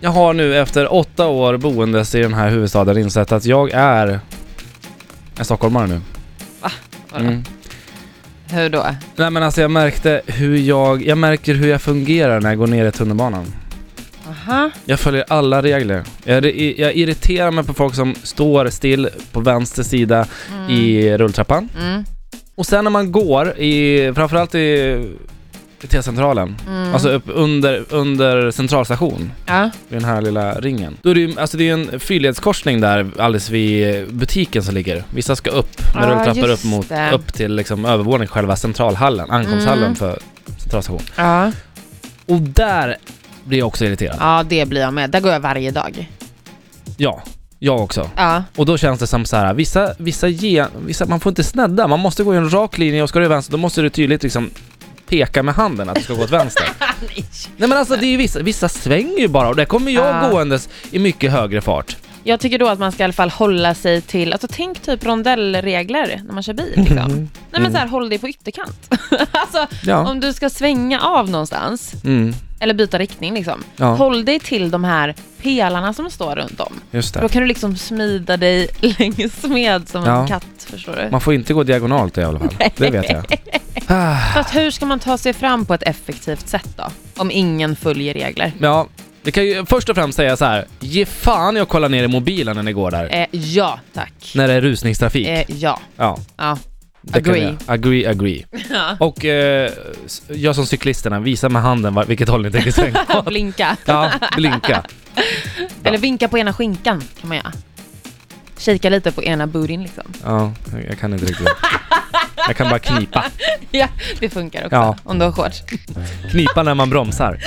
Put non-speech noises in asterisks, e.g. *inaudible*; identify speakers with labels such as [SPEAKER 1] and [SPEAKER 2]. [SPEAKER 1] Jag har nu efter åtta år boendes i den här huvudstaden insett att jag är en stockholmare nu.
[SPEAKER 2] Vadå?
[SPEAKER 1] Mm.
[SPEAKER 2] Hur då?
[SPEAKER 1] Nej men alltså jag märkte hur jag, jag märker hur jag fungerar när jag går ner i tunnelbanan.
[SPEAKER 2] Aha.
[SPEAKER 1] Jag följer alla regler. Jag, jag irriterar mig på folk som står still på vänster sida
[SPEAKER 2] Mm.
[SPEAKER 1] i rulltrappan.
[SPEAKER 2] Mm.
[SPEAKER 1] Och sen när man går, i, framförallt i, i T-centralen,
[SPEAKER 2] Mm.
[SPEAKER 1] alltså upp under, under centralstation,
[SPEAKER 2] ja.
[SPEAKER 1] vid den här lilla ringen. Då är det ju, alltså det är en fyrledskorsning där alldeles vid butiken som ligger. Vissa ska upp med
[SPEAKER 2] Ah,
[SPEAKER 1] rulltrappor upp,
[SPEAKER 2] just
[SPEAKER 1] mot,
[SPEAKER 2] det.
[SPEAKER 1] upp till liksom övervåningen, själva centralhallen, ankomsthallen
[SPEAKER 2] Mm.
[SPEAKER 1] för centralstation.
[SPEAKER 2] Ja.
[SPEAKER 1] Och där blir jag också irriterad.
[SPEAKER 2] ja, det blir jag med. Där går jag varje dag.
[SPEAKER 1] Ja, jag också.
[SPEAKER 2] Ja.
[SPEAKER 1] Och då känns det som så här, vissa, vissa, ge, vissa man får inte snedda, man måste gå i en rak linje och ska du vänster då måste du tydligt liksom peka med handen att du ska gå åt
[SPEAKER 2] *laughs*
[SPEAKER 1] vänster. Nej men alltså det är ju vissa, vissa svänger ju bara och där kommer jag
[SPEAKER 2] Ah.
[SPEAKER 1] gåendes i mycket högre fart.
[SPEAKER 2] *laughs* Jag tycker då att man ska i alla fall hålla sig till, alltså tänk typ rondellregler när man kör bil liksom. Nej men så här, håll dig på ytterkant. *laughs* alltså
[SPEAKER 1] Mm. Ja.
[SPEAKER 2] om du ska svänga av någonstans,
[SPEAKER 1] Mm.
[SPEAKER 2] eller byta riktning liksom,
[SPEAKER 1] Ja,
[SPEAKER 2] håll dig till de här pelarna som står runt om.
[SPEAKER 1] just
[SPEAKER 2] Då
[SPEAKER 1] det.
[SPEAKER 2] kan du liksom smida dig *laughs* längs med som
[SPEAKER 1] Ja.
[SPEAKER 2] en katt, förstår du?
[SPEAKER 1] Man får inte gå diagonalt i alla fall, det vet jag. Ah,
[SPEAKER 2] Fast hur ska man ta sig fram på ett effektivt sätt då? Om ingen följer regler.
[SPEAKER 1] Ja, det kan ju först och främst säga så här, ge fan jag kollar ner i mobilen när ni går där.
[SPEAKER 2] Eh, ja, tack.
[SPEAKER 1] När det är rusningstrafik.
[SPEAKER 2] Eh, ja,
[SPEAKER 1] Ja,
[SPEAKER 2] ja.
[SPEAKER 1] det kan vi
[SPEAKER 2] agree.
[SPEAKER 1] göra. Agree, agree.
[SPEAKER 2] *laughs* Ja.
[SPEAKER 1] Och eh, s- gör som cyklisterna, visa med handen var- vilket håll ni tänker svänga
[SPEAKER 2] *laughs*
[SPEAKER 1] åt.
[SPEAKER 2] Blinka.
[SPEAKER 1] *laughs* Ja, blinka.
[SPEAKER 2] Eller vinka på ena skinkan kan man göra. Kika lite på ena burin liksom.
[SPEAKER 1] Ja, jag kan inte riktigt. Jag kan bara knipa.
[SPEAKER 2] Ja, det funkar också
[SPEAKER 1] Ja.
[SPEAKER 2] om du har shorts.
[SPEAKER 1] Knipa när man bromsar.